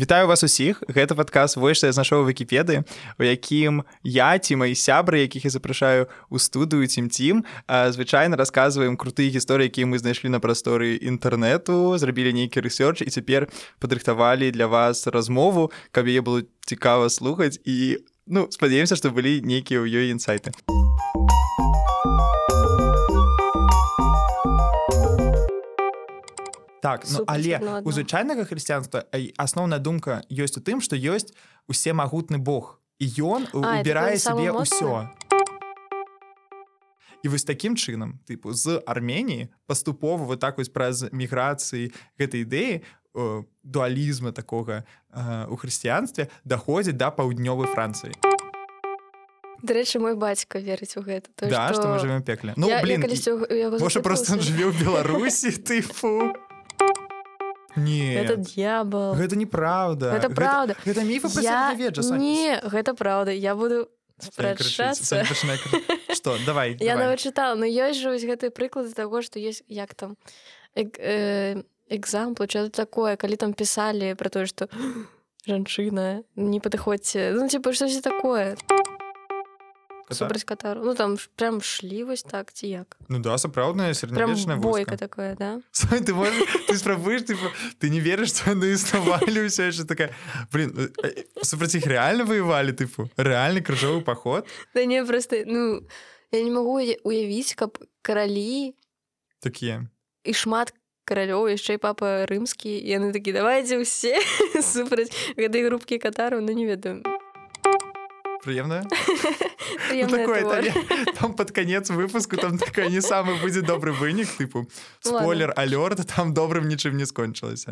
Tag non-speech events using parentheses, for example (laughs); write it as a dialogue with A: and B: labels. A: Вітаю вас усіх гэта падказ вось што я знайшоў вкіпедыі у якім я ці мои сябры якіх я запрашаю у студыю цім цім звычайна расказваем крутыя гісторыі якія мы знайшлі на прасторы інтэрнэту зрабілі нейкі рэсёрч і цяпер падрыхтавалі для вас размову каб яе было цікава слухаць і ну спадзяемся што былі нейкія ў ёй інсайты так ну,
B: Супраць
A: але
B: адно аднаго.
A: у звычайнага хрысціянства ай, асноўная думка ёсць у тым што ёсць усемагутны Бог і ён
B: А, і
A: убірае
B: такой
A: сабе
B: самамоцны?
A: ўсё і вось такім чынам тыпу з Арменіі паступова вот так вось праз міграцыі гэтай ідэі э, дуалізма такога э, у хрысціянстве даходзіць да паўднёвай францыі
B: Дарэчы мой бацька верыць у гэта тое,
A: да што мы жывем у пекле ну
B: я,
A: блин
B: я калісьці ў- у яго
A: Можа просто ён
B: запыталася.
A: жыве ў
B: (laughs)
A: беларусі тыфу не
B: Гэта д'ябал
A: гэта неправда
B: Гэта праўда.
A: гэта, гэта міфы пра
B: я...
A: сярэднявечча, Сань.
B: не гэта праўда я буду
A: Сань крычыць,
B: спрачацца
A: Сань пачынае крычаць. что давай
B: я
A: давай.
B: нават чытала но ёсць жа вось гэты прыклад таго што ёсць як там эк- э, экзамплу ча такое калі там пісалі пра тое (gasps) што жанчына не падыходзьце ну типа штосьці такое
A: Кота.
B: супраць катару ну там ш- прям шлі вось так ці як
A: ну да сапраўдная
B: прям
A: сярэднявечная
B: бойка
A: войска (laughs)
B: такая да
A: Сань, ты можешь ты спрабуеш ты, ты не верыш што яны існавалі ўсё яшчэ такая блин э, э, супраць іх реально воевалі тыпу рэальны крыжовы паход
B: да не просто ну я не магу уя- уявіць каб каралі
A: такія
B: і шмат каралёў яшчэ і папа рымскі і яны такі давайте (laughs) ўсе супраць гэтай групкі катару ну не ведаю
A: прыемная Ну,
B: Прыемная
A: такое,
B: тэорыя.
A: там, там под конец выпуску там такой не самый будет добрый вынік тыпу
B: Ладно.
A: спойлер алерт там добрым нічым не скончылася